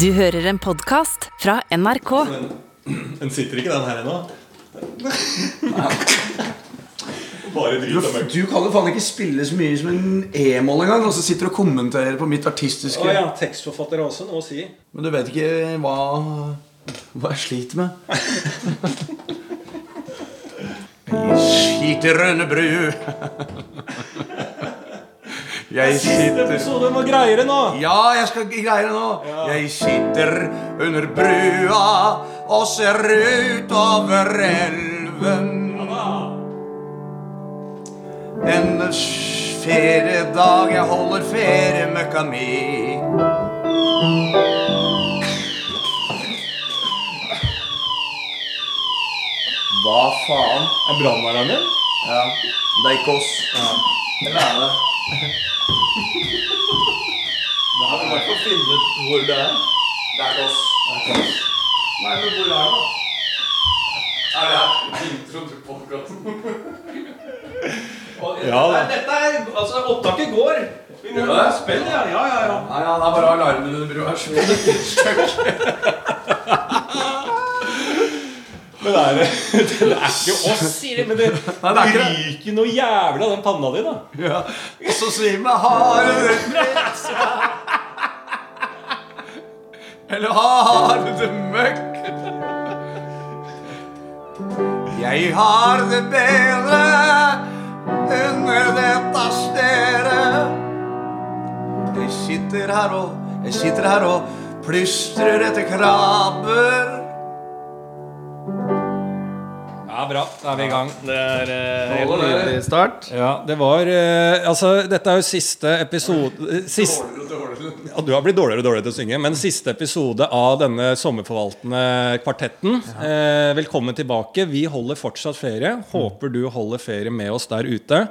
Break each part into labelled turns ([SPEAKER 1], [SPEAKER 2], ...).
[SPEAKER 1] Du hører en podkast fra NRK.
[SPEAKER 2] Den sitter ikke, den her ennå. Bare drit og møkk.
[SPEAKER 3] Du kan jo faen ikke spille så mye som en e-moll engang, og så sitter du og kommenterer på mitt artistiske
[SPEAKER 4] Å ja, tekstforfatter har også noe å si.
[SPEAKER 3] Men du vet ikke hva, hva jeg sliter med. Jeg sliter rønne bru. Jeg
[SPEAKER 4] Siste
[SPEAKER 3] sitter
[SPEAKER 4] episode var greiere nå!
[SPEAKER 3] Ja, jeg skal greie det nå. Jeg sitter under brua og ser utover elven. En s- feriedag, jeg holder feriemøkka mi. Hva faen?
[SPEAKER 2] Er brannalarmen?
[SPEAKER 3] Ja, det er ikke oss. Eller er det?
[SPEAKER 2] Da har vi i hvert fall funnet ut hvor det er.
[SPEAKER 3] Det er ikke oss. Nei, men hvor er det? Er det her introen til podkasten?
[SPEAKER 2] Ja da.
[SPEAKER 4] Dette er, altså, Opptaket går. Vi må
[SPEAKER 3] Gjør det?
[SPEAKER 4] spille, ja. ja, ja, ja.
[SPEAKER 3] Nei, ja, det er bare alarmen under brua. Skjønner.
[SPEAKER 2] Men er det, den er ikke oss, sier de. Men det,
[SPEAKER 3] Nei, det er ikke det.
[SPEAKER 2] ryker noe jævla av den panna di, da.
[SPEAKER 3] Ja. Og så svimer harde Eller harde møkk. Jeg har det bedre under dette stedet. Jeg sitter her og jeg sitter her og plystrer etter krabber.
[SPEAKER 4] Ja, Bra. Da er vi i gang. Det er eh, helt
[SPEAKER 3] Holder det?
[SPEAKER 4] nydelig start. Ja, det var eh, Altså, dette er jo siste episode siste, ja, Du har blitt dårligere og dårligere til å synge, men siste episode av denne sommerforvaltende kvartetten. Eh, velkommen tilbake. Vi holder fortsatt
[SPEAKER 5] Mm.
[SPEAKER 4] ferie. Håper du holder ferie med oss der ute.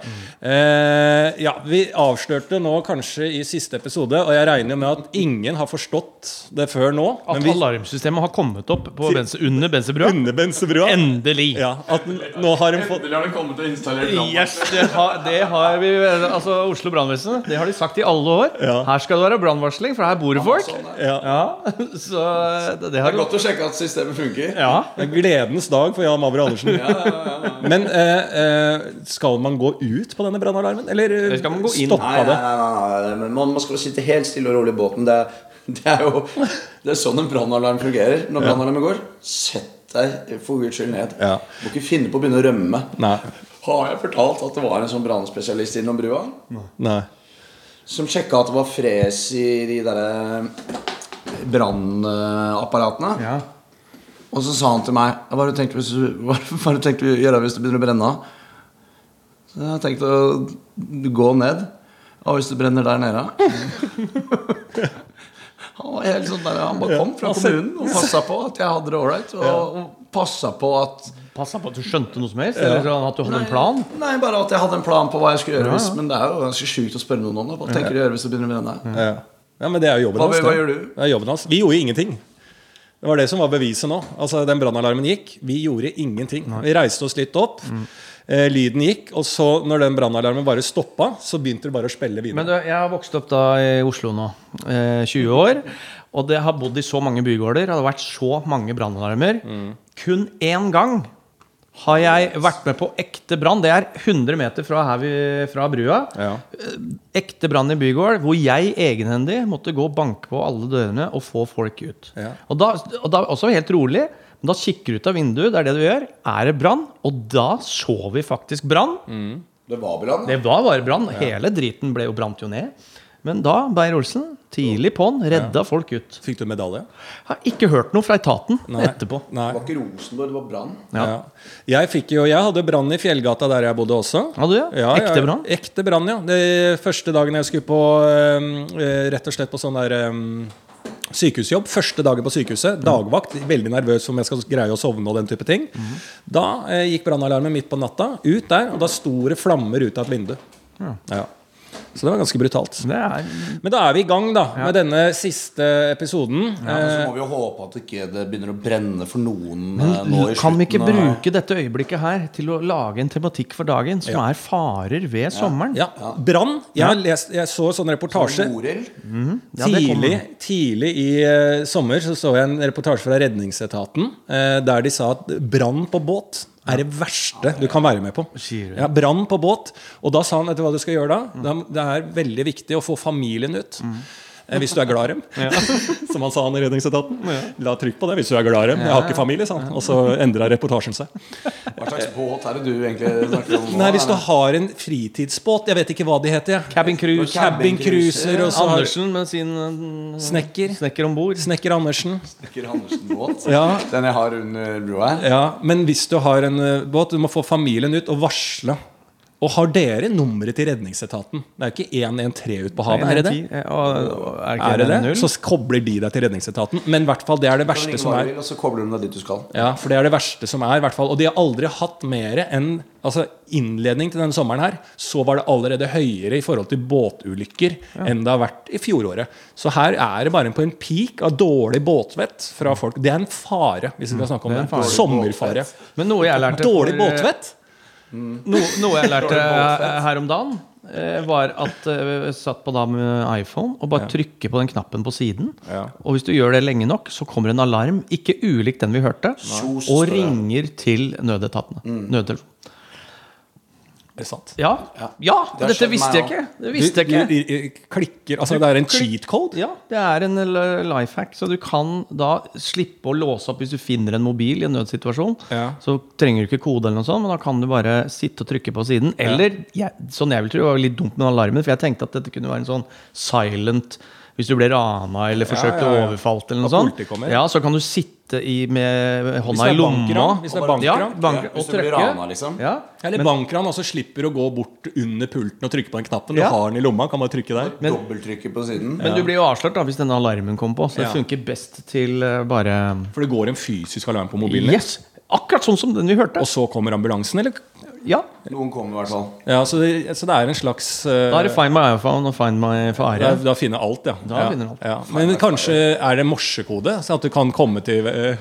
[SPEAKER 4] Eh, ja, vi avslørte nå kanskje i siste episode, og jeg regner jo med at ingen har forstått det før nå.
[SPEAKER 5] At
[SPEAKER 4] vi,
[SPEAKER 5] alarmsystemet har kommet opp på bense, under bensebrua.
[SPEAKER 4] Under Bensebrua.
[SPEAKER 5] Endelig!
[SPEAKER 4] Ja, at nå har de fått
[SPEAKER 3] Eller har den kommet og installert
[SPEAKER 5] Yes, det har, det har vi Altså Oslo brannvesen, det har de sagt i alle år.
[SPEAKER 4] Ja.
[SPEAKER 5] Her skal det være brannvarsling, for her bor det folk.
[SPEAKER 4] ja.
[SPEAKER 5] Ja, så eh, det det har
[SPEAKER 3] Godt å sjekke at systemet funker.
[SPEAKER 5] Ja.
[SPEAKER 4] Det er Gledens dag for Jan Mavro Andersen. Men eh, eh, skal man gå ut på denne brannalarmen, eller eh,
[SPEAKER 5] Eller skal man gå inn?
[SPEAKER 4] stoppa
[SPEAKER 3] Nei, nei,
[SPEAKER 4] det?
[SPEAKER 3] nei, nei, nei. Men man, man skal sitte helt stille og rolig i båten. Det er, det er jo det er sånn en brannalarm fungerer. Når brannalarmen går, sett deg for guds skyld ned.
[SPEAKER 4] Ja.
[SPEAKER 3] Må ikke finne på å begynne å rømme.
[SPEAKER 4] Nei.
[SPEAKER 3] Har jeg fortalt at det var en sånn brannspesialist innom brua?
[SPEAKER 4] Nei.
[SPEAKER 3] Som sjekka at det var fres i de derre brannapparatene.
[SPEAKER 5] Ja.
[SPEAKER 3] Og så sa han til meg Hva har du tenkt, hvis du, hva har du tenkt å gjøre hvis det begynner å brenne? Så jeg har tenkt å gå ned. Og hvis det brenner der nede Han var helt sånn der Han bare kom fra
[SPEAKER 5] Altså-
[SPEAKER 3] kommunen og passa på at jeg hadde det ålreit. Og, og passa på at
[SPEAKER 5] Passa på at du skjønte noe som helst, eller sånn at du hadde en plan.
[SPEAKER 3] Nei, bare at jeg hadde en plan på hva jeg skulle gjøre. Hvis, men det er jo ganske sjukt å spørre noen om det. Hva tenker du å gjøre hvis det begynner å brenne?
[SPEAKER 4] Ja. ja, men det er jo jobben
[SPEAKER 3] Hva-
[SPEAKER 4] hans.
[SPEAKER 3] hva
[SPEAKER 4] det.
[SPEAKER 3] gjør du?
[SPEAKER 4] Det er jobben hans. Vi gjorde ingenting. Det var det som var beviset nå. Altså, Den brannalarmen gikk. Vi gjorde ingenting. Vi reiste oss litt opp.
[SPEAKER 5] Mm.
[SPEAKER 4] Eh, lyden gikk, og så, når den brannalarmen bare stoppa, så begynte det bare å spille videre.
[SPEAKER 5] Men du, jeg har vokst opp da i Oslo nå, eh, 20 år. Og det har bodd i så mange bygårder, og det har vært så mange brannalarmer. Kun én gang har jeg vært med på ekte brann. Det er 100 meter fra, her vi, fra brua.
[SPEAKER 4] Ja.
[SPEAKER 5] Ekte brann i bygård, hvor jeg egenhendig måtte gå og banke på alle dørene og få folk ut.
[SPEAKER 4] Ja.
[SPEAKER 5] Og, da, og da også helt rolig. Men da kikker du ut av vinduet, det er det du gjør. Er det brann? Og da så vi faktisk brann.
[SPEAKER 3] Det var brann.
[SPEAKER 5] Det var bare brann. Hele driten ble jo brant jo ned. Men da, Beyer-Olsen, tidlig på'n, redda folk ut.
[SPEAKER 4] Fikk du medalje?
[SPEAKER 5] Har ikke hørt noe fra etaten etterpå.
[SPEAKER 4] Nei.
[SPEAKER 3] Det var ikke Rosenborg, det var brann.
[SPEAKER 4] Ja.
[SPEAKER 5] Ja.
[SPEAKER 4] Jeg fikk jo, jeg hadde brann i Fjellgata der jeg bodde også.
[SPEAKER 5] Hadde du det? Ekte brann?
[SPEAKER 4] Ja, ekte brann, ja. Det første dagen jeg skulle på øhm, øh, rett og slett på sånn der øhm, sykehusjobb. Første dagen på sykehuset.
[SPEAKER 5] Mm.
[SPEAKER 4] Dagvakt. Veldig nervøs om jeg skal greie å sovne og den type ting.
[SPEAKER 5] Mm.
[SPEAKER 4] Da eh, gikk brannalarmen midt på natta ut der, og da sto det flammer ut av et vindu. Ja. Så det var ganske brutalt.
[SPEAKER 5] Det er,
[SPEAKER 4] Men da er vi i gang da med denne siste episoden. Eh,
[SPEAKER 3] Men så må vi jo håpe at ikke det begynner å brenne for noen eh, nå
[SPEAKER 5] men
[SPEAKER 3] i
[SPEAKER 5] kan vi ikke
[SPEAKER 3] slutten av-
[SPEAKER 5] bruke dette øyeblikket her til å lage en tematikk for dagen som er farer ved sommeren?
[SPEAKER 4] Ja, Brann. Jeg, har lest- jeg så sånn reportasje
[SPEAKER 3] Morild?
[SPEAKER 5] Ja, det kommer.
[SPEAKER 4] tidlig, tidlig i eh, sommer så, så jeg en reportasje fra Redningsetaten eh, der de sa at brann på båt er det verste du kan være med på.
[SPEAKER 5] Sier du.
[SPEAKER 4] Ja, brann på båt. Og da sa han vet du hva du skal gjøre da? Da- Det er veldig viktig å få familien ut.
[SPEAKER 5] Mm.
[SPEAKER 4] Eh, Hvis du er glad i dem, som han sa han i Redningsetaten. La trykk på det hvis du er glad i dem. Jeg har ikke familie, sa han. Og så endra reportasjen seg.
[SPEAKER 3] Hva slags båt er det du egentlig snakker om? nå?
[SPEAKER 4] Nei, hvis du har en fritidsbåt Jeg vet ikke hva de heter. jeg.
[SPEAKER 5] Cabin cruise.
[SPEAKER 4] Cabin cruiser og så har-
[SPEAKER 5] Andersen med sin eh,
[SPEAKER 4] Snekker.
[SPEAKER 5] snekker om bord.
[SPEAKER 4] Snekker Andersen.
[SPEAKER 3] Snekker Andersen-båt?
[SPEAKER 4] Ja.
[SPEAKER 3] Den jeg har under broa her?
[SPEAKER 4] Ja, Men hvis du har en eh, båt, du må få familien ut og varsle. Og har dere nummeret til Redningsetaten? Det er jo ikke 113 ute på havet, er det det? Er det det? Så kobler de deg til Redningsetaten. Men i hvert fall, det er det verste som er.
[SPEAKER 3] Og så kobler du deg dit du skal.
[SPEAKER 4] Ja, for det er det verste som er, i hvert fall. Og de har aldri hatt mer enn altså innledning til denne sommeren her. Så var det allerede høyere i forhold til båtulykker enn det har vært i fjoråret. Så her er det bare på en peak av dårlig båtvett fra folk. Det er en fare, hvis vi skal snakke om
[SPEAKER 5] Mm. det er
[SPEAKER 4] det.
[SPEAKER 5] en fare.
[SPEAKER 4] Sommerfare.
[SPEAKER 5] Men noe jeg lærte
[SPEAKER 4] Dårlig
[SPEAKER 5] for-
[SPEAKER 4] båtvett?
[SPEAKER 5] No, noe jeg lærte eh, her om dagen, eh, var at eh, jeg satt på da med iPhone og bare trykke på den knappen på siden.
[SPEAKER 4] Ja.
[SPEAKER 5] Og hvis du gjør det lenge nok, så kommer en alarm, ikke ulik den vi hørte,
[SPEAKER 3] Sos,
[SPEAKER 5] og
[SPEAKER 3] står det. Mm.
[SPEAKER 5] ringer til nødetatene. Nødtelefon.
[SPEAKER 4] Er det sant?
[SPEAKER 5] Ja, ja
[SPEAKER 3] Det har
[SPEAKER 5] dette
[SPEAKER 3] skjedd
[SPEAKER 5] visste jeg
[SPEAKER 3] meg
[SPEAKER 5] ikke!
[SPEAKER 3] også.
[SPEAKER 5] Det visste jeg ikke.
[SPEAKER 4] Du, du, du, klikker, altså det er en cheat code?
[SPEAKER 5] Ja, det er en eh, life hack, så du kan da slippe å låse opp hvis du finner en mobil i en nødsituasjon.
[SPEAKER 4] Ja.
[SPEAKER 5] Så trenger du ikke kode, eller noe sånt, men da kan du bare sitte og trykke på siden. Eller, jeg, sånn jeg vil tro, det var litt dumt med alarmen, for jeg tenkte at dette kunne være en sånn silent hvis du ble rana eller forsøkt
[SPEAKER 4] ja, ja.
[SPEAKER 5] overfalt eller noe
[SPEAKER 4] At
[SPEAKER 5] sånt.
[SPEAKER 4] politiet kommer.
[SPEAKER 5] Ja, så kan du sitte i, med hånda
[SPEAKER 4] det
[SPEAKER 5] i
[SPEAKER 4] er
[SPEAKER 5] lomma.
[SPEAKER 4] bankran, hvis det er bankran.
[SPEAKER 5] ja, bankran,
[SPEAKER 3] Ja, hvis
[SPEAKER 5] og
[SPEAKER 3] du blir
[SPEAKER 5] trykke.
[SPEAKER 3] rana, liksom.
[SPEAKER 5] Ja.
[SPEAKER 4] Eller bankran, altså slipper å gå bort under pulten og trykke på den knappen. Du
[SPEAKER 5] Ja.
[SPEAKER 4] har den i lomma, kan bare trykke der.
[SPEAKER 3] Dobbelttrykket på siden.
[SPEAKER 5] Men du blir jo avslørt da hvis denne alarmen kommer på, så det
[SPEAKER 4] Ja.
[SPEAKER 5] funker best til eh, bare
[SPEAKER 4] For det går en fysisk alarm på mobilen. din.
[SPEAKER 5] Yes! Akkurat sånn som den vi hørte.
[SPEAKER 4] Og så kommer ambulansen, eller?
[SPEAKER 5] Ja,
[SPEAKER 3] Noen kommer i hvert fall.
[SPEAKER 4] Ja, så det, så det er en slags eh,
[SPEAKER 5] Da er det Find My iPhone og Find My Fare.
[SPEAKER 4] da, da finner alt, ja.
[SPEAKER 5] Da
[SPEAKER 4] ja.
[SPEAKER 5] finner alt.
[SPEAKER 4] Ja. Men kanskje er det morsekode? Så at du kan komme til eh,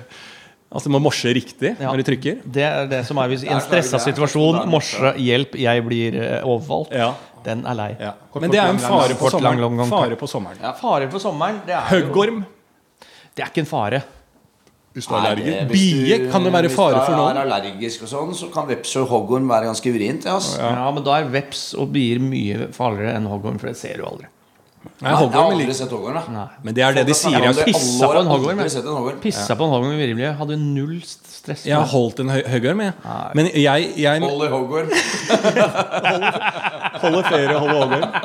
[SPEAKER 4] At du må morse riktig
[SPEAKER 5] Ja.
[SPEAKER 4] når du trykker?
[SPEAKER 5] Det er det som er hvis i en
[SPEAKER 3] Der klarer
[SPEAKER 5] stressa
[SPEAKER 3] vi det.
[SPEAKER 5] situasjon
[SPEAKER 3] Der borte.
[SPEAKER 5] Morse, hjelp, jeg blir eh, overfalt.
[SPEAKER 4] Ja.
[SPEAKER 5] Den er lei.
[SPEAKER 4] Ja. Men det er en fare på
[SPEAKER 5] Kort, lang,
[SPEAKER 4] sommeren.
[SPEAKER 5] lang, lang.
[SPEAKER 4] Fare på sommeren.
[SPEAKER 5] Fare for sommeren, det er jo
[SPEAKER 4] Høggorm
[SPEAKER 5] Det er ikke en fare.
[SPEAKER 4] hvis du er
[SPEAKER 3] Nei, det-
[SPEAKER 4] allergiker.
[SPEAKER 3] hvis du-
[SPEAKER 4] Bie kan det være fare for
[SPEAKER 3] Hvis du
[SPEAKER 4] noen.
[SPEAKER 3] er allergisk og sånn, så kan veps og hoggorm være ganske vrient. Ja, ass.
[SPEAKER 5] Ja. Men da er veps og bier mye farligere enn hoggorm, for det ser du aldri.
[SPEAKER 4] Nei,
[SPEAKER 3] jeg har
[SPEAKER 4] hoggorm
[SPEAKER 3] aldri
[SPEAKER 4] liker
[SPEAKER 3] sett hoggorm. da.
[SPEAKER 4] sånn. Men det er det de sier.
[SPEAKER 3] Jeg har
[SPEAKER 4] at-
[SPEAKER 3] aldri-
[SPEAKER 5] Pissa
[SPEAKER 3] alle år
[SPEAKER 5] på en hoggorm,
[SPEAKER 3] aldri
[SPEAKER 5] jeg.
[SPEAKER 3] sett en hoggorm.
[SPEAKER 5] Pissa på en hoggorm i virvelmiljøet, hadde null stress.
[SPEAKER 4] Jeg har holdt en hø- høggorm, jeg. Men jeg, jeg
[SPEAKER 3] Ollie hoggorm.
[SPEAKER 4] holder ferie, holder hoggorm.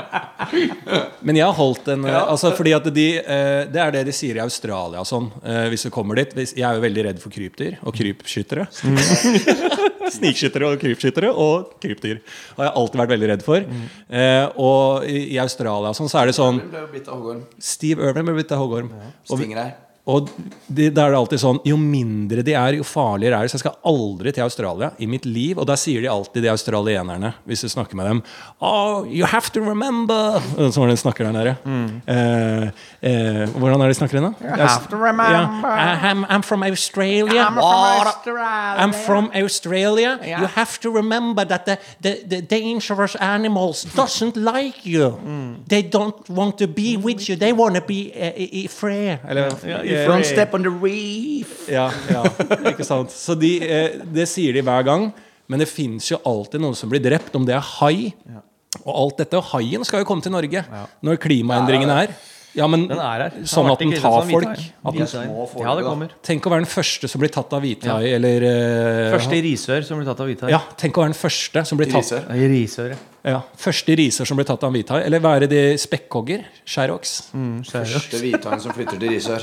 [SPEAKER 4] Men jeg har holdt en eh, altså, fordi at de, eh, Det er det de sier i Australia og sånn, eh, hvis du kommer dit. Hvis, jeg er jo veldig redd for krypdyr og krypskyttere. Snikskyttere og krypskyttere og krypdyr. Har jeg alltid vært veldig redd for. Eh, og i, i Australia og sånn, så er det sånn
[SPEAKER 3] Ble jo bitt av hoggorm.
[SPEAKER 4] Steve Irwin ble bitt av hoggorm. Og vi-
[SPEAKER 3] Stinger deg.
[SPEAKER 4] Og de, da er det alltid sånn Jo mindre de er, jo farligere er de. Så jeg skal aldri til Australia i mitt liv. Og der sier de alltid, de australienerne, hvis du snakker med dem Oh, you have to remember Sånn var det de snakker der nede. Eh, eh, hvordan er det de snakker igjen, da? You
[SPEAKER 5] Mm. have to remember.
[SPEAKER 4] I'm, I'm from Australia. I'm from Australia. You have to remember that the, the, the dangerous animals doesn't like you.
[SPEAKER 5] Mm.
[SPEAKER 4] They don't want to be with you. They want to be uh, i, i fred. Eller, eh,
[SPEAKER 3] Don't step on the reef.
[SPEAKER 4] ja, ja, ikke sant. Så de, eh, det sier de hver gang. Men det fins jo alltid noen som blir drept, om det er hai. Og alt dette. Og haien skal jo komme til Norge når klimaendringene er. Ja, men
[SPEAKER 5] Den er her.
[SPEAKER 4] sånn at den tar folk. At den,
[SPEAKER 5] Ja, det kommer.
[SPEAKER 4] tenk å være den første som blir tatt av hvithai, eller eh,
[SPEAKER 5] Første i Risør som blir tatt av hvithai.
[SPEAKER 4] Ja, tenk å være den første som blir tatt
[SPEAKER 3] Griser.
[SPEAKER 5] I Risør, ja.
[SPEAKER 4] ja, Første riser som blir tatt av en hvithai. Eller være de spekkhogger. Skjæroks.
[SPEAKER 5] Mm, skjærer.
[SPEAKER 3] Det er hvithaien som flytter til Risør.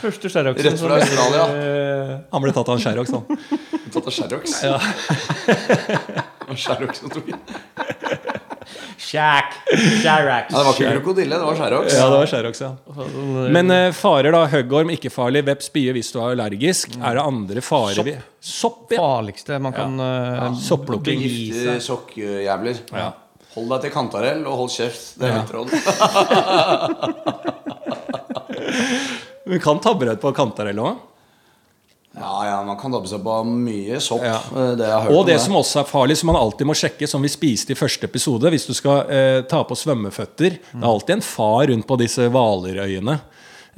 [SPEAKER 5] Første skjæroksen
[SPEAKER 3] Rett fra
[SPEAKER 5] som- Eh,
[SPEAKER 3] Australia.
[SPEAKER 4] Han ble tatt av en skjæroks, han.
[SPEAKER 3] Tatt av Sherrox. Og Sherrox som tok den.
[SPEAKER 5] Shack. Sharak.
[SPEAKER 3] Nei, det var ikke krokodille, det var Sherrox.
[SPEAKER 4] Ja, det var skjærokse, ja. Men eh, farer, da. Høggorm, ikke farlig. Veps, bie hvis du er allergisk. Er det andre farer vi Mm. Sopp, ja.
[SPEAKER 5] farligste man kan eh, ja.
[SPEAKER 4] Sopplukking.
[SPEAKER 3] Giftige sokkjævler.
[SPEAKER 4] Ja.
[SPEAKER 3] Hold deg til kantarell og hold kjeft. Det er mitt råd.
[SPEAKER 4] Du kan tabberett på kantarell òg.
[SPEAKER 3] Ja, ja, man kan dabbe seg på mye sopp.
[SPEAKER 4] Ja.
[SPEAKER 3] eh, Det jeg har hørt
[SPEAKER 4] Og
[SPEAKER 3] om
[SPEAKER 4] det som også er farlig, som man alltid må sjekke, som vi spiste i første episode Hvis du skal eh, ta på svømmeføtter Det er alltid en far rundt på disse hvalerøyene.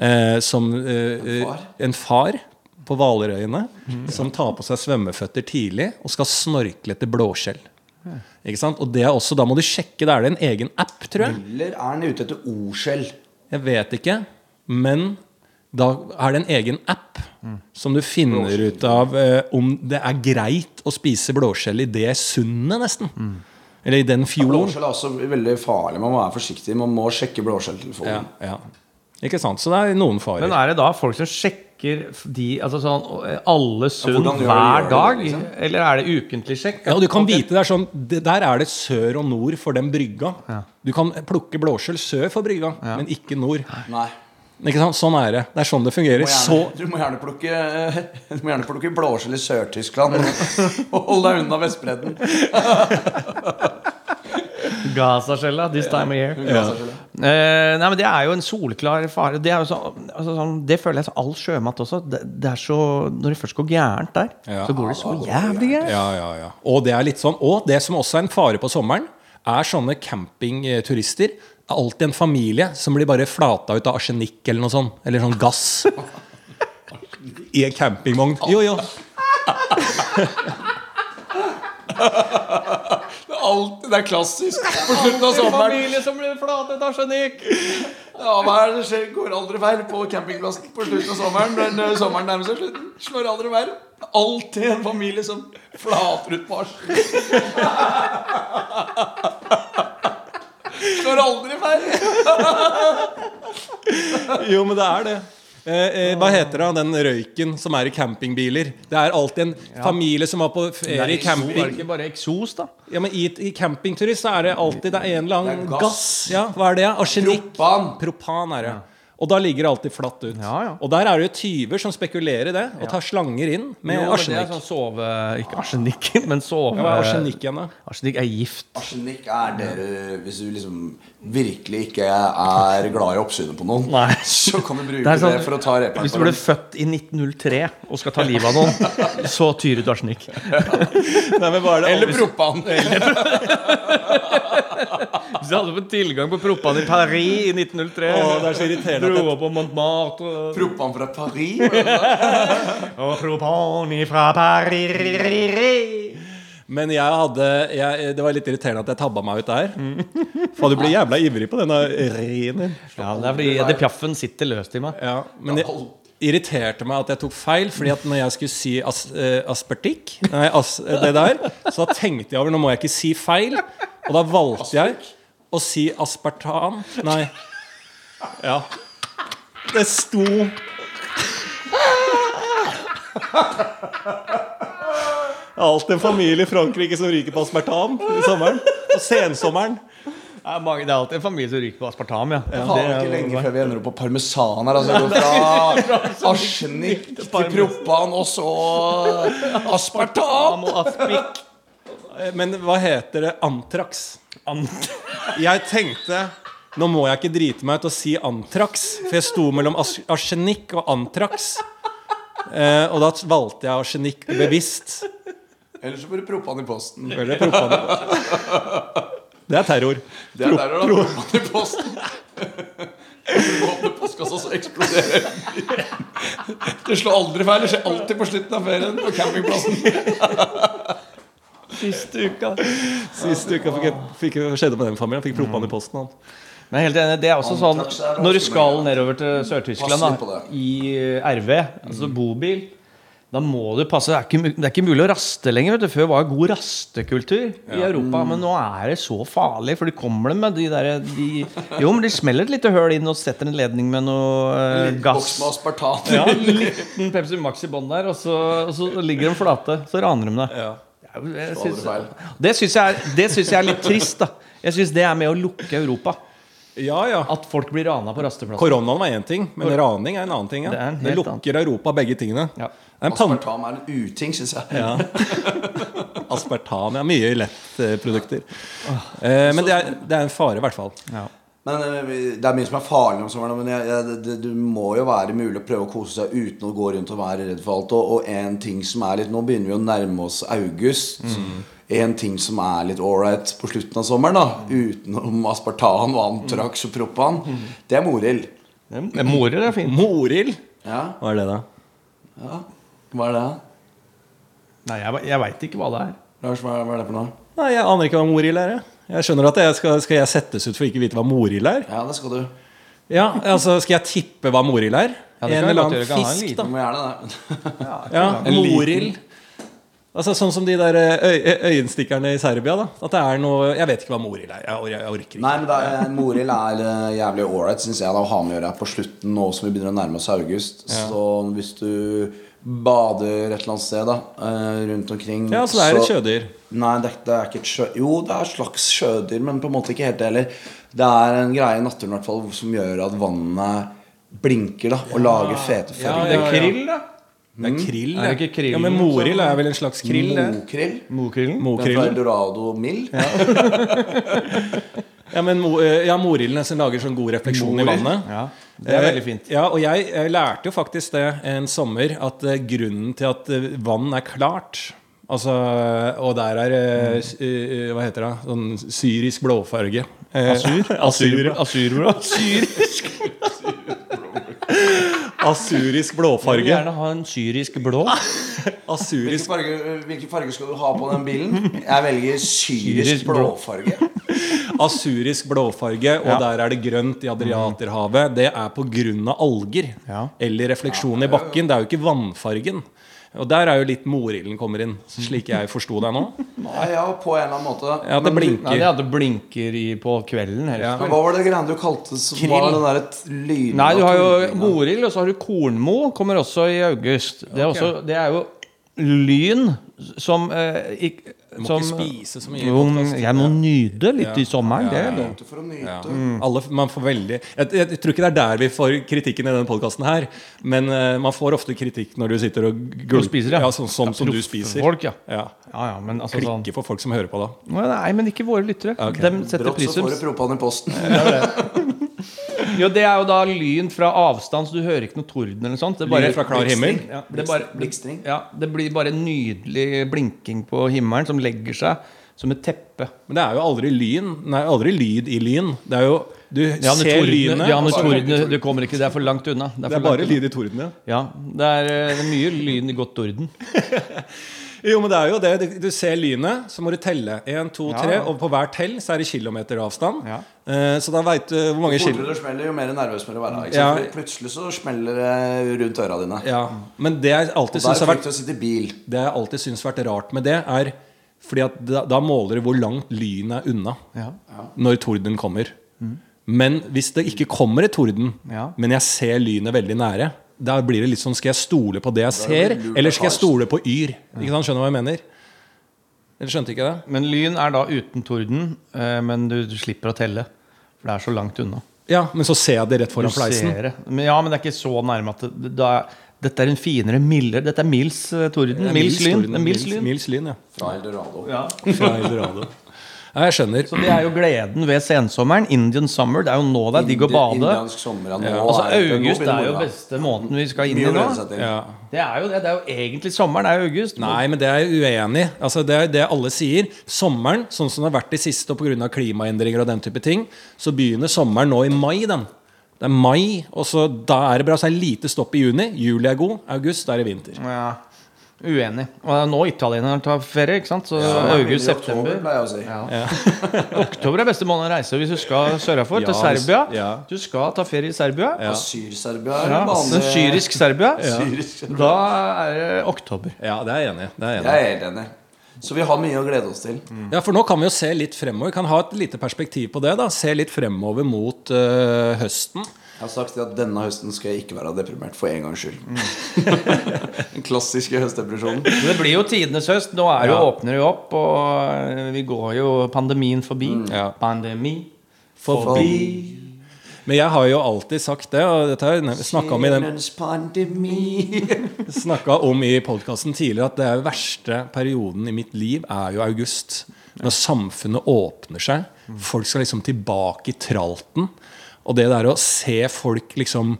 [SPEAKER 4] Eh, som eh,
[SPEAKER 3] En far?
[SPEAKER 4] eh, En far Mm. på hvalerøyene som tar på seg svømmeføtter tidlig og skal snorkle etter blåskjell. Ikke sant? Og det er også, da må du sjekke. Da er det en egen app, tror jeg.
[SPEAKER 3] Eller er han ute etter ordskjell?
[SPEAKER 4] Jeg vet ikke, men da er det en egen app som du finner ut av eh, om det er greit å spise blåskjell i det sundet, nesten. Eller i den fjorden.
[SPEAKER 3] Blåskjell er også veldig farlig. Man må være forsiktig. Man må sjekke blåskjelltelefonen.
[SPEAKER 4] Ja, ja. Ikke sant? Så det er noen farer.
[SPEAKER 5] Men er det da folk som sjekker f- de, altså sånn, eh, alle sund
[SPEAKER 3] hvordan gjør-
[SPEAKER 5] hver
[SPEAKER 3] gjør de
[SPEAKER 5] dag?
[SPEAKER 3] det, liksom?
[SPEAKER 5] Eller er det ukentlig sjekk?
[SPEAKER 4] Ja, og du kan
[SPEAKER 5] Ok.
[SPEAKER 4] vite det er sånn, det, Der er det sør og nord for den brygga.
[SPEAKER 5] Ja.
[SPEAKER 4] Du kan plukke blåskjell sør for brygga, men ikke nord.
[SPEAKER 3] Nei.
[SPEAKER 4] Ikke sant? Sånn er det. Det er sånn det fungerer.
[SPEAKER 3] Du må,
[SPEAKER 4] Så,
[SPEAKER 3] gjerne, du, må gjerne plukke, eh, du må gjerne plukke blåskjell i Sør-Tyskland. Og hold deg unna Vestbredden.
[SPEAKER 5] Gazaskjella, this time of year. Eh, nei, men Det er jo en solklar fare. Det, er jo så, altså, sånn, det føler jeg så all sjømat også. Det, det er så, Når det først går gærent der,
[SPEAKER 4] Ja.
[SPEAKER 5] så går det så jævlig gærent.
[SPEAKER 4] Ja, ja, ja. Og det er litt sånn. Og det som også er en fare på sommeren, er sånne campingturister. Det er alltid en familie som blir bare flata ut av arsenikk eller noe sånt. Eller sånn gass. I en campingvogn. Jo, jo.
[SPEAKER 3] Det er alltid- det er klassisk på slutten av sommeren.
[SPEAKER 5] som blir flatet av sjenikk!
[SPEAKER 3] Ja, hva er det skjer? Går aldri feil på campingplassen på slutten av sommeren. Men eh, sommeren nærmer seg slutten. Slår aldri feil. Alltid en familie som flater ut på arsen. Slår aldri feil.
[SPEAKER 4] Jo, men det er det. Eh, eh, hva heter det, den røyken som er i campingbiler? Det er alltid en familie som var på ferie i
[SPEAKER 5] Er det
[SPEAKER 4] camping.
[SPEAKER 5] ikke bare eksos, da?
[SPEAKER 4] Ja, men I, i campingturist så er det alltid det er en eller annen
[SPEAKER 3] Det er
[SPEAKER 4] gass.
[SPEAKER 3] gass.
[SPEAKER 4] Ja, hva er det? Arsenikk.
[SPEAKER 3] Propan.
[SPEAKER 4] Propan er det. Og da ligger det alltid flatt ut.
[SPEAKER 5] Ja, ja.
[SPEAKER 4] Og der er det jo tyver som spekulerer i det, og tar slanger inn med
[SPEAKER 5] Jo, men det er
[SPEAKER 4] arsenikk.
[SPEAKER 5] sånn sove... Ikke arsenikk, men sove...
[SPEAKER 4] Hva er arsenikk igjen, da?
[SPEAKER 5] Arsenikk er gift.
[SPEAKER 3] Arsenikk er det du- Hvis du liksom virkelig ikke er glad i oppsynet på noen,
[SPEAKER 5] Nei.
[SPEAKER 3] så kan du bruke
[SPEAKER 5] Det
[SPEAKER 3] det,
[SPEAKER 5] er sånn-
[SPEAKER 3] for å ta reperen.
[SPEAKER 5] Hvis du
[SPEAKER 3] på
[SPEAKER 5] ble
[SPEAKER 3] den.
[SPEAKER 5] født i 1903 og skal ta livet av noen, så tyrer du arsenikk.
[SPEAKER 3] Eller propan.
[SPEAKER 5] Hvis jeg hadde fått tilgang på proppene i Paris i 1903
[SPEAKER 4] Å, det er så irriterende at
[SPEAKER 5] Dro opp på Montmartre
[SPEAKER 3] Propan fra Paris. Det
[SPEAKER 5] Og propani fra Paris
[SPEAKER 4] Men jeg hadde jeg, Det var litt irriterende at jeg tabba meg ut der. For du blir jævla ivrig på denne r-en din.
[SPEAKER 5] Ja, det er fordi det piaffen sitter løst i meg
[SPEAKER 4] Ja, men det irriterte meg at jeg tok feil, fordi at når jeg skulle si as, eh, aspertikk, nei, as, eh, det der, så da tenkte jeg over nå må jeg ikke si feil, og da valgte jeg å si aspartan. Nei. Ja. Det sto Alt en familie i Frankrike som ryker på aspartam i sommeren. Og sensommeren.
[SPEAKER 5] Det er, mange, det er alltid en familie som ryker på aspartam, ja,
[SPEAKER 3] tar ikke lenge før vi ender opp på parmesan her. Altså, vi går
[SPEAKER 5] sånn
[SPEAKER 3] fra arsenikk til propan, og så aspartam.
[SPEAKER 5] Am og aspik
[SPEAKER 4] Eh, Men hva heter det? Antrax. Jeg tenkte Nå må jeg ikke drite meg ut og si antrax, for jeg sto mellom ars arsenikk og antrax. Eh, og da valgte jeg arsenikk bevisst.
[SPEAKER 3] Eller så får du propan i posten.
[SPEAKER 4] Eller propan. Det er terror.
[SPEAKER 3] Det er der du har propan i posten. Du åpner postkassa, så eksploderer den. Det slår aldri feil. Det skjer alltid på slutten av ferien på campingplassen.
[SPEAKER 5] Siste uka
[SPEAKER 4] Siste uka fikk jeg, fikk jeg skjedde med den familien. Fikk propan i posten. Han.
[SPEAKER 5] Men jeg er helt enig, det er også sånn
[SPEAKER 3] Antrax er også
[SPEAKER 5] Når du skal
[SPEAKER 3] mye.
[SPEAKER 5] nedover til Sør-Tyskland
[SPEAKER 3] Pass litt
[SPEAKER 5] da,
[SPEAKER 3] på det. Mm.
[SPEAKER 5] I eh, RV, altså bobil Da må du passe Det er ikke, mu- det er ikke mulig å raste lenger vet du. Før var det god rastekultur i Europa Men nå er det så farlig For de kommer dem med de der de, Jo, men de smeller et lite høl inn og setter en ledning med noe eh, gass
[SPEAKER 3] Boks med aspartam.
[SPEAKER 5] Ja, en liten Pepsi Max i bånd der Og så, og så ligger de flate Så raner de deg
[SPEAKER 4] Ja.
[SPEAKER 5] Det er jo- jeg
[SPEAKER 3] Slå aldri
[SPEAKER 5] synes-
[SPEAKER 3] feil.
[SPEAKER 5] Det syns jeg, er- det synes jeg er litt trist da Jeg synes det er med å lukke Europa
[SPEAKER 4] Ja, ja.
[SPEAKER 5] at folk blir rana på rasteplasser.
[SPEAKER 4] Altså, Koronaen var én ting, men raning er en annen ting. Ja.
[SPEAKER 5] Det er en
[SPEAKER 4] Det
[SPEAKER 5] helt
[SPEAKER 4] lukker Europa, begge tingene.
[SPEAKER 5] Ja.
[SPEAKER 4] Det er en pan
[SPEAKER 3] Aspartam er en uting, syns jeg.
[SPEAKER 4] ja. Aspartam. Ja, mye lettprodukter. Eh, men det er, det er en fare, i hvert fall.
[SPEAKER 5] Ja.
[SPEAKER 3] Men eh, vi- det er mye som er farlig om sommeren. Men jeg, jeg, det, det må jo være mulig å prøve å kose seg uten å gå rundt og være redd for alt. Og, og en ting som er litt Nå begynner vi å nærme oss august. En ting som er litt ålreit på slutten av sommeren, da utenom aspartan og Antrax og propan, det er morild.
[SPEAKER 5] Morer er fint.
[SPEAKER 4] Morild?
[SPEAKER 3] Ja.
[SPEAKER 4] Hva er det, da?
[SPEAKER 3] ja. Hva er det?
[SPEAKER 5] Nei, jeg, jeg veit ikke hva det er.
[SPEAKER 3] Lars, hva er, hva er det for noe?
[SPEAKER 4] Nei, Jeg aner ikke hva morild er. Jeg. jeg skjønner at jeg skal, skal jeg settes ut for ikke å vite hva morild er?
[SPEAKER 3] Ja, det skal du.
[SPEAKER 4] Ja, altså Skal jeg tippe hva morild er?
[SPEAKER 5] Ja, det kan
[SPEAKER 4] en
[SPEAKER 5] jeg
[SPEAKER 4] eller
[SPEAKER 5] godt
[SPEAKER 4] annen
[SPEAKER 5] gjøre. Kan ha en
[SPEAKER 4] fisk,
[SPEAKER 5] liten
[SPEAKER 4] da.
[SPEAKER 3] Du må gjerne det.
[SPEAKER 4] Ja,
[SPEAKER 3] En liten-
[SPEAKER 4] Morild. Altså Sånn som de der eh, øy øy- øyenstikkerne i Serbia. da At det er noe Jeg vet ikke hva morild er. Jeg, or- jeg orker ikke.
[SPEAKER 3] Nei, men det er, Morild er eh, jævlig ålreit, syns jeg, da, å ha med å gjøre på slutten nå som vi begynner å nærme oss august. Så hvis du bader et eller annet sted da, eh, rundt omkring
[SPEAKER 4] Ja, Så det er et kjødedyr.
[SPEAKER 3] Nei, det, er- det er ikke et sjø... Jo, det er et slags sjødyr, men på en måte ikke helt det heller. Det er en greie i naturen i hvert fall som gjør at vannet blinker da, og lager
[SPEAKER 4] Ja,
[SPEAKER 3] fete
[SPEAKER 5] Det
[SPEAKER 3] farger.
[SPEAKER 5] er krill, da.
[SPEAKER 4] Det er krill.
[SPEAKER 5] Er det ikke krill
[SPEAKER 4] Ja, Men
[SPEAKER 5] som-
[SPEAKER 4] morild er vel en slags krill? det?
[SPEAKER 3] Mokrill.
[SPEAKER 5] Mokrillen.
[SPEAKER 3] Den fra
[SPEAKER 4] Mokrillen?
[SPEAKER 3] Eldorado Mill.
[SPEAKER 4] Ja, men mo, eh, ja, morilden nesten lager sånn god refleksjon i
[SPEAKER 3] Morild?
[SPEAKER 4] vannet.
[SPEAKER 5] Ja, det er
[SPEAKER 4] Eh,
[SPEAKER 5] veldig fint.
[SPEAKER 4] Ja, og jeg, jeg lærte jo faktisk det en sommer, at eh, grunnen til at eh, vann er klart Altså, og der er eh, s- eh, Hva heter det? Sånn syrisk blåfarge. Eh, Asur.
[SPEAKER 5] Asurblå.
[SPEAKER 4] Syrisk Asurisk
[SPEAKER 5] Vil
[SPEAKER 4] blåfarge.
[SPEAKER 5] gjerne ha en syrisk blå.
[SPEAKER 4] Asurisk
[SPEAKER 3] Hvilken farge, hvilken farge skal du ha på den bilen? Jeg velger syrisk
[SPEAKER 5] Syrisk blå.
[SPEAKER 3] blåfarge.
[SPEAKER 4] Asurisk blåfarge, og der er det grønt i Adriaterhavet. Det er pga. alger
[SPEAKER 5] Ja.
[SPEAKER 4] eller refleksjon i bakken. Det er jo ikke vannfargen. Og der er jo litt morilden kommer inn, slik jeg forsto deg nå.
[SPEAKER 3] Ja, ja, på en eller annen måte.
[SPEAKER 4] Ja, det
[SPEAKER 3] Men du-
[SPEAKER 5] Nei, det
[SPEAKER 4] blinker.
[SPEAKER 5] hadde blinker i på kvelden. helst.
[SPEAKER 4] Ja.
[SPEAKER 3] Hva var det greiene du kalte som
[SPEAKER 4] Krill.
[SPEAKER 3] var den derre t- lyden
[SPEAKER 5] Nei, du har jo
[SPEAKER 3] av tornene?
[SPEAKER 5] Morild, og så har du Kornmo. Kommer også i august. Det er, også, det er jo lyn som eh, ikk-
[SPEAKER 4] Du må
[SPEAKER 5] som,
[SPEAKER 4] ikke spise så mye i
[SPEAKER 5] Jo,
[SPEAKER 4] podcast.
[SPEAKER 5] jeg må nyte litt i sommeren. Det er
[SPEAKER 4] Ja.
[SPEAKER 5] lov.
[SPEAKER 3] Nyte for å nyte.
[SPEAKER 4] Ja. Mm. Alle, man får veldig jeg, jeg, tror ikke det er der vi får kritikken i denne podkasten her, men eh, man får ofte kritikk når du sitter og gulper.
[SPEAKER 5] Og spiser, ja.
[SPEAKER 4] sånn sånn som du
[SPEAKER 5] proff-
[SPEAKER 4] spiser.
[SPEAKER 5] Folk, ja.
[SPEAKER 4] Ja.
[SPEAKER 5] Ja, ja, men altså sånn
[SPEAKER 4] Klikke for folk som hører på, da.
[SPEAKER 5] Nei, men ikke våre lyttere.
[SPEAKER 4] Ok.
[SPEAKER 5] De setter
[SPEAKER 3] Brått så får du
[SPEAKER 5] prisums.
[SPEAKER 3] propan i posten.
[SPEAKER 5] Jo, det er jo da lyn fra avstand, så du hører ikke noe torden eller noe sånt. Det er bare,
[SPEAKER 4] Lyn fra klar himmel.
[SPEAKER 5] Ja, det, er bare,
[SPEAKER 3] Blikkstring.
[SPEAKER 5] ja, det blir bare nydelig blinking på himmelen som legger seg som et teppe.
[SPEAKER 4] Men det er jo aldri lyn. Nei, aldri lyd i lyn. Det er jo Du
[SPEAKER 5] Ja, men
[SPEAKER 4] ser
[SPEAKER 5] tordene,
[SPEAKER 4] lynet.
[SPEAKER 5] ja, men
[SPEAKER 4] og så-
[SPEAKER 5] tordene Du kommer ikke, det er for langt unna.
[SPEAKER 4] det er
[SPEAKER 5] for langt
[SPEAKER 4] bare
[SPEAKER 5] unna.
[SPEAKER 4] lyd i tordene.
[SPEAKER 5] Ja, det er, eh, det er mye lyn i godt torden.
[SPEAKER 4] Jo, men det er jo det. Du- Du ser lynet, så må du telle. Én, to,
[SPEAKER 5] Ja.
[SPEAKER 4] tre. Og på hver tell så er det kilometer avstand.
[SPEAKER 5] Ja.
[SPEAKER 4] Eh, Så da veit du hvor mange
[SPEAKER 3] Jo
[SPEAKER 4] kilo
[SPEAKER 3] fortere det smeller, jo mer nervøs må du være. Ikke
[SPEAKER 4] Ja.
[SPEAKER 3] sant? Fordi Plutselig så smeller det rundt øra dine.
[SPEAKER 4] ja. Men det jeg alltid
[SPEAKER 3] Og da er
[SPEAKER 4] syns
[SPEAKER 3] det
[SPEAKER 4] har
[SPEAKER 3] fint
[SPEAKER 4] vært
[SPEAKER 3] å sitte i bil.
[SPEAKER 4] Det jeg alltid syns har vært rart med det, er fordi at da, da måler du hvor langt lynet er unna
[SPEAKER 5] Ja.
[SPEAKER 4] når torden kommer. Men hvis det ikke kommer et torden,
[SPEAKER 5] Ja.
[SPEAKER 4] men jeg ser lynet veldig nære, da blir det litt sånn Skal jeg stole på det jeg
[SPEAKER 3] er
[SPEAKER 4] ser,
[SPEAKER 3] det lurt
[SPEAKER 4] eller skal jeg
[SPEAKER 3] å ta
[SPEAKER 4] stole på yr? Ikke sant, Skjønner du hva jeg mener? Dere skjønte ikke det?
[SPEAKER 5] Men lyn er da uten torden, eh, men du, du slipper å telle. For det er så langt unna.
[SPEAKER 4] Ja, men så ser jeg det rett
[SPEAKER 5] Du
[SPEAKER 4] foran fleisen.
[SPEAKER 5] ser det. Men, ja, men det er ikke så nærme at det, da, Dette er en finere, mildere Dette er Mils eh, torden. Mils lyn.
[SPEAKER 4] torden,
[SPEAKER 5] Det er Mils
[SPEAKER 4] Mils-
[SPEAKER 5] lyn.
[SPEAKER 4] Mils lyn, ja.
[SPEAKER 3] Fra Eldorado.
[SPEAKER 5] Ja.
[SPEAKER 4] Fra Eldorado. Ja, jeg skjønner.
[SPEAKER 5] Så det er jo gleden ved sensommeren. Indian summer. Det er jo nå det er digg å
[SPEAKER 3] Indi-
[SPEAKER 5] bade.
[SPEAKER 3] Indiansk sommer. Ja, nå
[SPEAKER 5] Altså,
[SPEAKER 3] er det- nå
[SPEAKER 5] august
[SPEAKER 3] begynner
[SPEAKER 5] er jo
[SPEAKER 3] moroa.
[SPEAKER 5] beste måneden vi skal inn
[SPEAKER 3] Mye
[SPEAKER 5] i
[SPEAKER 3] å
[SPEAKER 5] nå.
[SPEAKER 3] glede seg til.
[SPEAKER 4] Ja.
[SPEAKER 5] Det er jo det. Det er jo egentlig sommeren. Det er jo august.
[SPEAKER 4] Nei, men det er jeg uenig i. Altså, det er det alle sier. Sommeren, sånn som det har vært de siste, og pga. klimaendringer og den type ting, så begynner sommeren nå i mai. den. Det er mai, og så da er det bra. Så er det lite stopp i juni. Juli er god. August, da er det vinter.
[SPEAKER 5] Ja. Uenig. Og det er nå italienerne tar ferie, ikke sant? Så
[SPEAKER 3] Ja,
[SPEAKER 5] august,
[SPEAKER 3] i oktober,
[SPEAKER 5] september.
[SPEAKER 3] pleier jeg å si.
[SPEAKER 5] Ja. Oktober er beste måned å reise hvis du skal sørafor, til
[SPEAKER 4] Ja, hvis-
[SPEAKER 5] Serbia.
[SPEAKER 4] ja.
[SPEAKER 5] Du skal ta ferie i Serbia.
[SPEAKER 4] Ja.
[SPEAKER 3] Syr-Serbia er
[SPEAKER 5] Ja,
[SPEAKER 3] en vanlig-
[SPEAKER 5] den syrisk Serbia.
[SPEAKER 3] Syrisk.
[SPEAKER 5] Da er det oktober.
[SPEAKER 4] Ja, det er jeg enig i. Det er jeg enig i.
[SPEAKER 3] Jeg er helt enig. Så vi har mye å glede oss til.
[SPEAKER 4] Ja, for nå kan vi jo se litt fremover. Kan ha et lite perspektiv på det. da. Se litt fremover mot øh, høsten.
[SPEAKER 3] Jeg har sagt at denne høsten skal jeg ikke være deprimert for en gangs skyld.
[SPEAKER 4] Mm.
[SPEAKER 3] Den klassiske høstdepresjonen.
[SPEAKER 5] Men Det blir jo tidenes høst. Nå er jo,
[SPEAKER 4] Ja.
[SPEAKER 5] åpner det jo opp, og vi går jo pandemien forbi.
[SPEAKER 4] Mm. Ja.
[SPEAKER 5] Pandemi.
[SPEAKER 4] Forbi. Men jeg har jo alltid sagt det, og dette har jeg snakka om i den
[SPEAKER 3] Sjelens pandemi.
[SPEAKER 4] snakka om i podkasten tidligere at det er verste perioden i mitt liv er jo august. Når samfunnet åpner seg. Folk skal liksom tilbake i tralten. Og det der å se folk liksom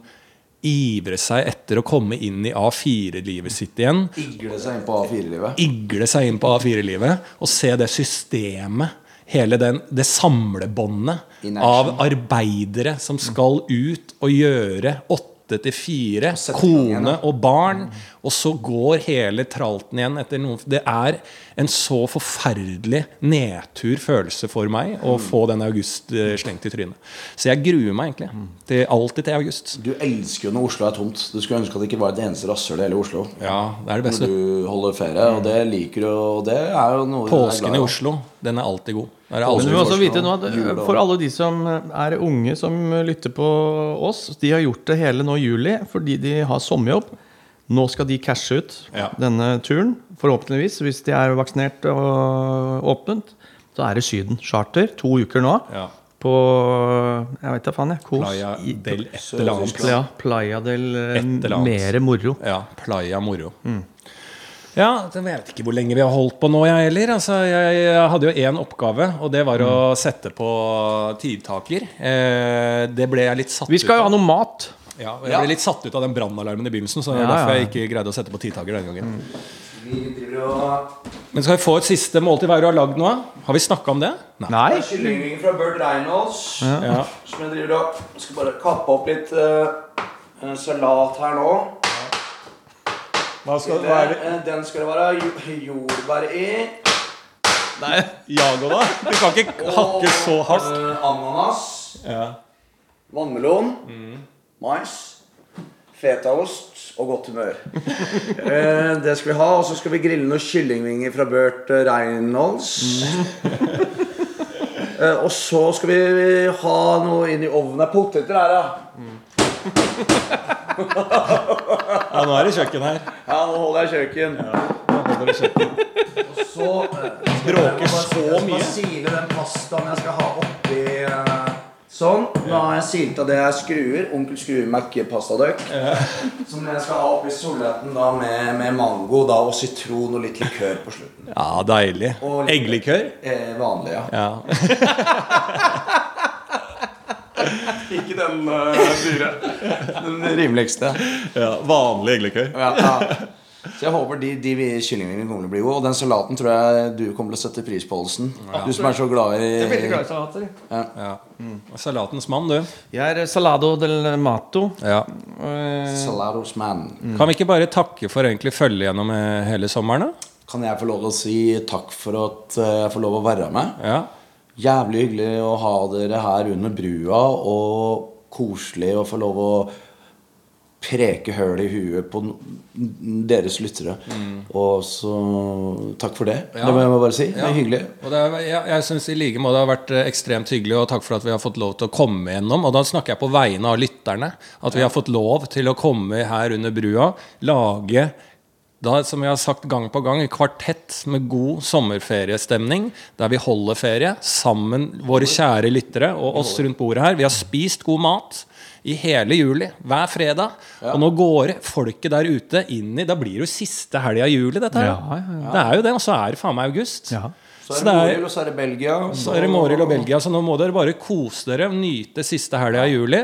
[SPEAKER 4] ivre seg etter å komme inn i A4-livet sitt igjen.
[SPEAKER 3] Igle seg inn på A4-livet.
[SPEAKER 4] Igle seg inn på A4-livet og se det systemet. Hele den, det samlebåndet
[SPEAKER 3] In action.
[SPEAKER 4] av arbeidere som skal ut og gjøre åtte til fire,
[SPEAKER 3] sette i gang igjen,
[SPEAKER 4] kone
[SPEAKER 3] da.
[SPEAKER 4] og barn, og så går hele tralten igjen etter noen Det er en så forferdelig nedtur følelse for meg
[SPEAKER 3] Mm.
[SPEAKER 4] å få den august eh, slengt i trynet. Så jeg gruer meg
[SPEAKER 3] Mm.
[SPEAKER 4] egentlig. Til, alltid til august.
[SPEAKER 3] Du elsker jo når Oslo er tomt. Du skulle ønske at det ikke var et eneste rasshøl i hele Oslo.
[SPEAKER 4] Ja, det er det
[SPEAKER 3] Når
[SPEAKER 4] beste.
[SPEAKER 3] du holder ferie, og det liker du, og det er jo noe du er glad
[SPEAKER 4] Påsken
[SPEAKER 3] i.
[SPEAKER 4] i Oslo, den er alltid god. Da er det
[SPEAKER 5] Men
[SPEAKER 4] aldri
[SPEAKER 5] du må også
[SPEAKER 3] Julefrokosten
[SPEAKER 5] vite nå at eh,
[SPEAKER 3] og jul og-
[SPEAKER 5] For alle de som eh, er unge som lytter på oss, de har gjort det hele nå i juli fordi de har sommerjobb. Nå skal de cashe ut
[SPEAKER 4] Ja.
[SPEAKER 5] denne turen, forhåpentligvis, hvis de er vaksinert og åpnet. Så er det Syden charter, to uker nå,
[SPEAKER 4] Ja.
[SPEAKER 5] på jeg vet da faen, jeg. Kos.
[SPEAKER 4] Playa
[SPEAKER 5] i-
[SPEAKER 4] del et eller annet.
[SPEAKER 5] Ja, Playa del eh,
[SPEAKER 4] Et eller annet.
[SPEAKER 5] Mere moro.
[SPEAKER 4] Ja, playa moro.
[SPEAKER 5] Mm.
[SPEAKER 4] Ja, det- jeg vet ikke hvor lenge vi har holdt på nå, jeg heller. Altså, jeg, jeg hadde jo én oppgave, og det var å
[SPEAKER 5] Mm.
[SPEAKER 4] sette på tidtaker. Eh, det ble jeg litt satt
[SPEAKER 5] Vi skal
[SPEAKER 4] ut
[SPEAKER 5] jo
[SPEAKER 4] av.
[SPEAKER 5] ha noe mat.
[SPEAKER 4] Ja, og jeg ble litt satt ut av den brannalarmen i begynnelsen, så det er
[SPEAKER 5] Ja, Mm. ja.
[SPEAKER 4] derfor jeg ikke greide å sette på tidtaker den gangen.
[SPEAKER 3] Vi driver og
[SPEAKER 4] Men skal vi få et siste måltid hver du har lagd nå? Har vi snakka om det? Nei.
[SPEAKER 5] Nei?
[SPEAKER 3] har kyllingvinger fra Burt Reynolds.
[SPEAKER 4] Ja.
[SPEAKER 3] Som jeg driver og skal bare kappe opp litt eh, eh, salat her nå.
[SPEAKER 4] Hva skal
[SPEAKER 3] Det, eh, den skal det være jo- jordbær i.
[SPEAKER 4] Nei, Jago, da? Du kan ikke hakke så hardt.
[SPEAKER 3] eh, ananas.
[SPEAKER 4] Ja. Mm.
[SPEAKER 3] Vannmelon. Mais. Fetaost og godt humør. Eh, det skal vi ha. Og så skal vi grille noen kyllingvinger fra Burt eh, Reynolds. Eh, og så skal vi ha noe inn i ovnen. Poteter her, da.
[SPEAKER 4] ja, nå er det kjøkken her.
[SPEAKER 3] Ja, nå holder jeg kjøkken. Og så eh,
[SPEAKER 4] Bråker så
[SPEAKER 3] Jeg skal
[SPEAKER 4] mye.
[SPEAKER 3] bare sile den pastaen jeg skal ha oppi eh, Sånn. Nå har jeg silt av det jeg skruer. Onkel Skruer Mac-pastadøkk. Som jeg skal ha oppi solretten da med, med mango da, og sitron og litt likør på slutten.
[SPEAKER 4] Ja, deilig.
[SPEAKER 3] Og-
[SPEAKER 4] Eggelikør?
[SPEAKER 3] Eh, vanlig, ja.
[SPEAKER 4] Ja.
[SPEAKER 3] Ikke den dyre. Den rimeligste.
[SPEAKER 4] Ja, vanlig eggelikør.
[SPEAKER 3] Ja, ja. Så jeg håper de, de kyllingvingene kommer til å bli gode. Og den salaten tror jeg du kommer til å sette pris på, Olsen. Du som er så glad i
[SPEAKER 4] Ja. Salatens mann, du.
[SPEAKER 5] Jeg er eh, salado del mato. Eh,
[SPEAKER 3] Salaros man.
[SPEAKER 4] Kan vi ikke bare takke for egentlig følge gjennom eh, hele sommeren, da?
[SPEAKER 3] Kan jeg få lov til å si takk for at eh, jeg får lov å være med?
[SPEAKER 4] Ja.
[SPEAKER 3] Jævlig hyggelig å ha dere her under brua, og koselig å få lov å preke høl i huet på n- deres lyttere. Og så takk for det.
[SPEAKER 4] Mm. Ja.
[SPEAKER 3] Det må jeg bare si. Det
[SPEAKER 4] Ja.
[SPEAKER 3] er hyggelig.
[SPEAKER 4] Og det er, jeg jeg syns i like måte det har vært eh, ekstremt hyggelig, og takk for at vi har fått lov til å komme gjennom. Og da snakker jeg på vegne av lytterne. At vi har fått lov til å komme her under brua, lage da, som vi har sagt gang på gang, en kvartett med god sommerferiestemning. Der vi holder ferie sammen, våre kjære lyttere og oss rundt bordet her. Vi har spist god mat i hele juli, hver fredag. Og nå går folket der ute inn i Da blir det jo siste helga i juli, dette her.
[SPEAKER 5] Ja, ja,
[SPEAKER 4] Det er jo det, og så er det faen meg august.
[SPEAKER 5] Ja.
[SPEAKER 3] Så er det Morild, og så er det Belgia.
[SPEAKER 4] Så er det Måril og Belgia, så nå må dere bare kose dere og nyte siste helga i juli.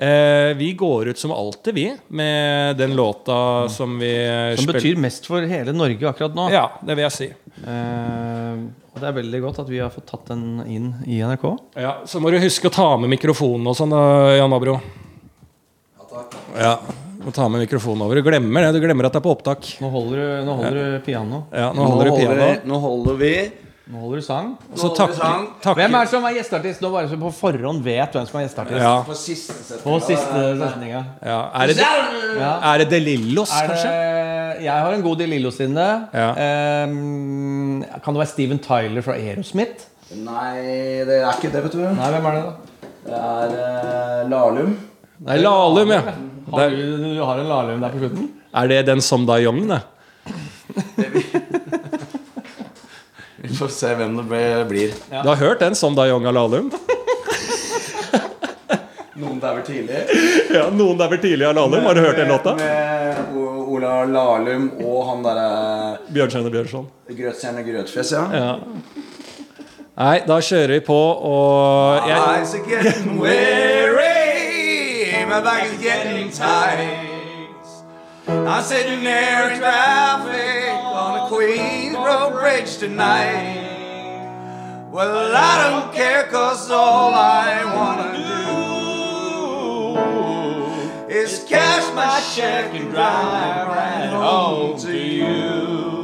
[SPEAKER 4] Eh, vi går ut som alltid, vi, med den låta som vi
[SPEAKER 5] Som
[SPEAKER 4] spiller-
[SPEAKER 5] betyr mest for hele Norge akkurat nå.
[SPEAKER 4] Ja, det vil jeg si.
[SPEAKER 5] Eh, og det er veldig godt at vi har fått tatt den inn i NRK.
[SPEAKER 4] Ja, så må du huske å ta med mikrofonen og sånn, da, Jan Abro. Ja, må ta med mikrofonen over. Du glemmer det, du glemmer at det er på opptak.
[SPEAKER 5] Nå holder du, nå holder du piano.
[SPEAKER 4] Ja, nå
[SPEAKER 3] Nå
[SPEAKER 4] holder du
[SPEAKER 3] holder, vi,
[SPEAKER 4] pianoet.
[SPEAKER 3] nå holder vi.
[SPEAKER 5] Nå holder du sang.
[SPEAKER 4] Så
[SPEAKER 3] holder vi
[SPEAKER 4] takker,
[SPEAKER 3] sang.
[SPEAKER 4] takker
[SPEAKER 5] Hvem er det som er gjesteartist? Nå bare så på forhånd vet hvem som er gjesteartist.
[SPEAKER 4] ja,
[SPEAKER 3] På siste
[SPEAKER 5] På
[SPEAKER 3] setning.
[SPEAKER 5] siste setninga.
[SPEAKER 4] ja. Er det,
[SPEAKER 5] Ja.
[SPEAKER 4] er det De Lillos,
[SPEAKER 5] Er det,
[SPEAKER 4] kanskje?
[SPEAKER 5] jeg har en god del Lillos inne.
[SPEAKER 4] Ja.
[SPEAKER 5] Eh, kan det være Steven Tyler fra Aerosmith?
[SPEAKER 3] Nei, det er ikke det, vet du.
[SPEAKER 5] Nei, hvem er det, da?
[SPEAKER 3] Det er eh, Lahlum.
[SPEAKER 4] Nei, Lahlum, ja. Der.
[SPEAKER 5] Har du, du har en Lahlum der på slutten?
[SPEAKER 4] Er det den som da Young, det?
[SPEAKER 3] Vi får se hvem det blir.
[SPEAKER 4] Du har hørt den som da Young av Lahlum?
[SPEAKER 3] Noen
[SPEAKER 6] Noen dauer tidlig.
[SPEAKER 4] Ja, noen der vel tidlig av Lahlum, har du hørt den låta?
[SPEAKER 6] Med O- Ola Lahlum og han derre
[SPEAKER 4] Bjørnstjerne Bjørnson.
[SPEAKER 6] Grøtstjerne Grøtfjes, ja.
[SPEAKER 4] Ja. Nei, da kjører vi på, og jeg,
[SPEAKER 6] Eyes are getting weary, my back is getting tight. I'm sitting there in traffic on a Queens Road bridge tonight. Well, I don't care, cause all I wanna do is cash my check and drive right home to you.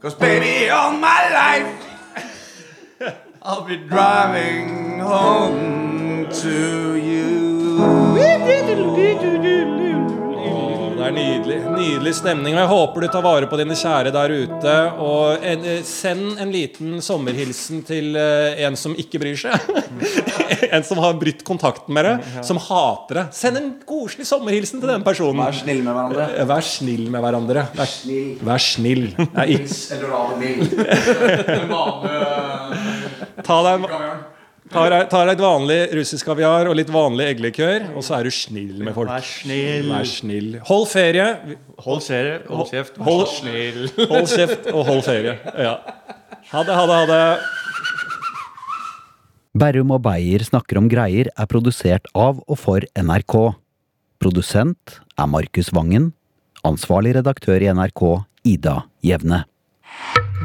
[SPEAKER 6] Cause baby, all my life I'll be driving home to you.
[SPEAKER 4] Å, det er nydelig. Nydelig stemning. Og jeg håper du tar vare på dine kjære der ute. Og en, eh, send en liten sommerhilsen til eh, en som ikke bryr seg. en som har brutt kontakten med deg, som hater deg. Send en koselig sommerhilsen til den personen.
[SPEAKER 6] Vær snille med hverandre.
[SPEAKER 4] Eh, Vær snill med hverandre. Vær
[SPEAKER 6] snill.
[SPEAKER 4] Vær snill. Nei, ikke.
[SPEAKER 6] Eller av og til.
[SPEAKER 4] Ta deg en Ta deg ta deg et vanlig russisk kaviar og litt vanlig eggelikør, og så er du snill med folk.
[SPEAKER 5] Vær snill.
[SPEAKER 4] Vær snill. Hold ferie.
[SPEAKER 5] Hold serie, hold kjeft,
[SPEAKER 4] Hold-
[SPEAKER 5] vær så snill.
[SPEAKER 4] Hold kjeft og hold ferie. Ja. Ha det, ha det, ha det.
[SPEAKER 7] Berrum og Beyer snakker om greier er produsert av og for NRK. Produsent er Markus Vangen. Ansvarlig redaktør i NRK, Ida Jevne.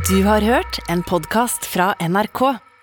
[SPEAKER 1] Du har hørt en podkast fra NRK.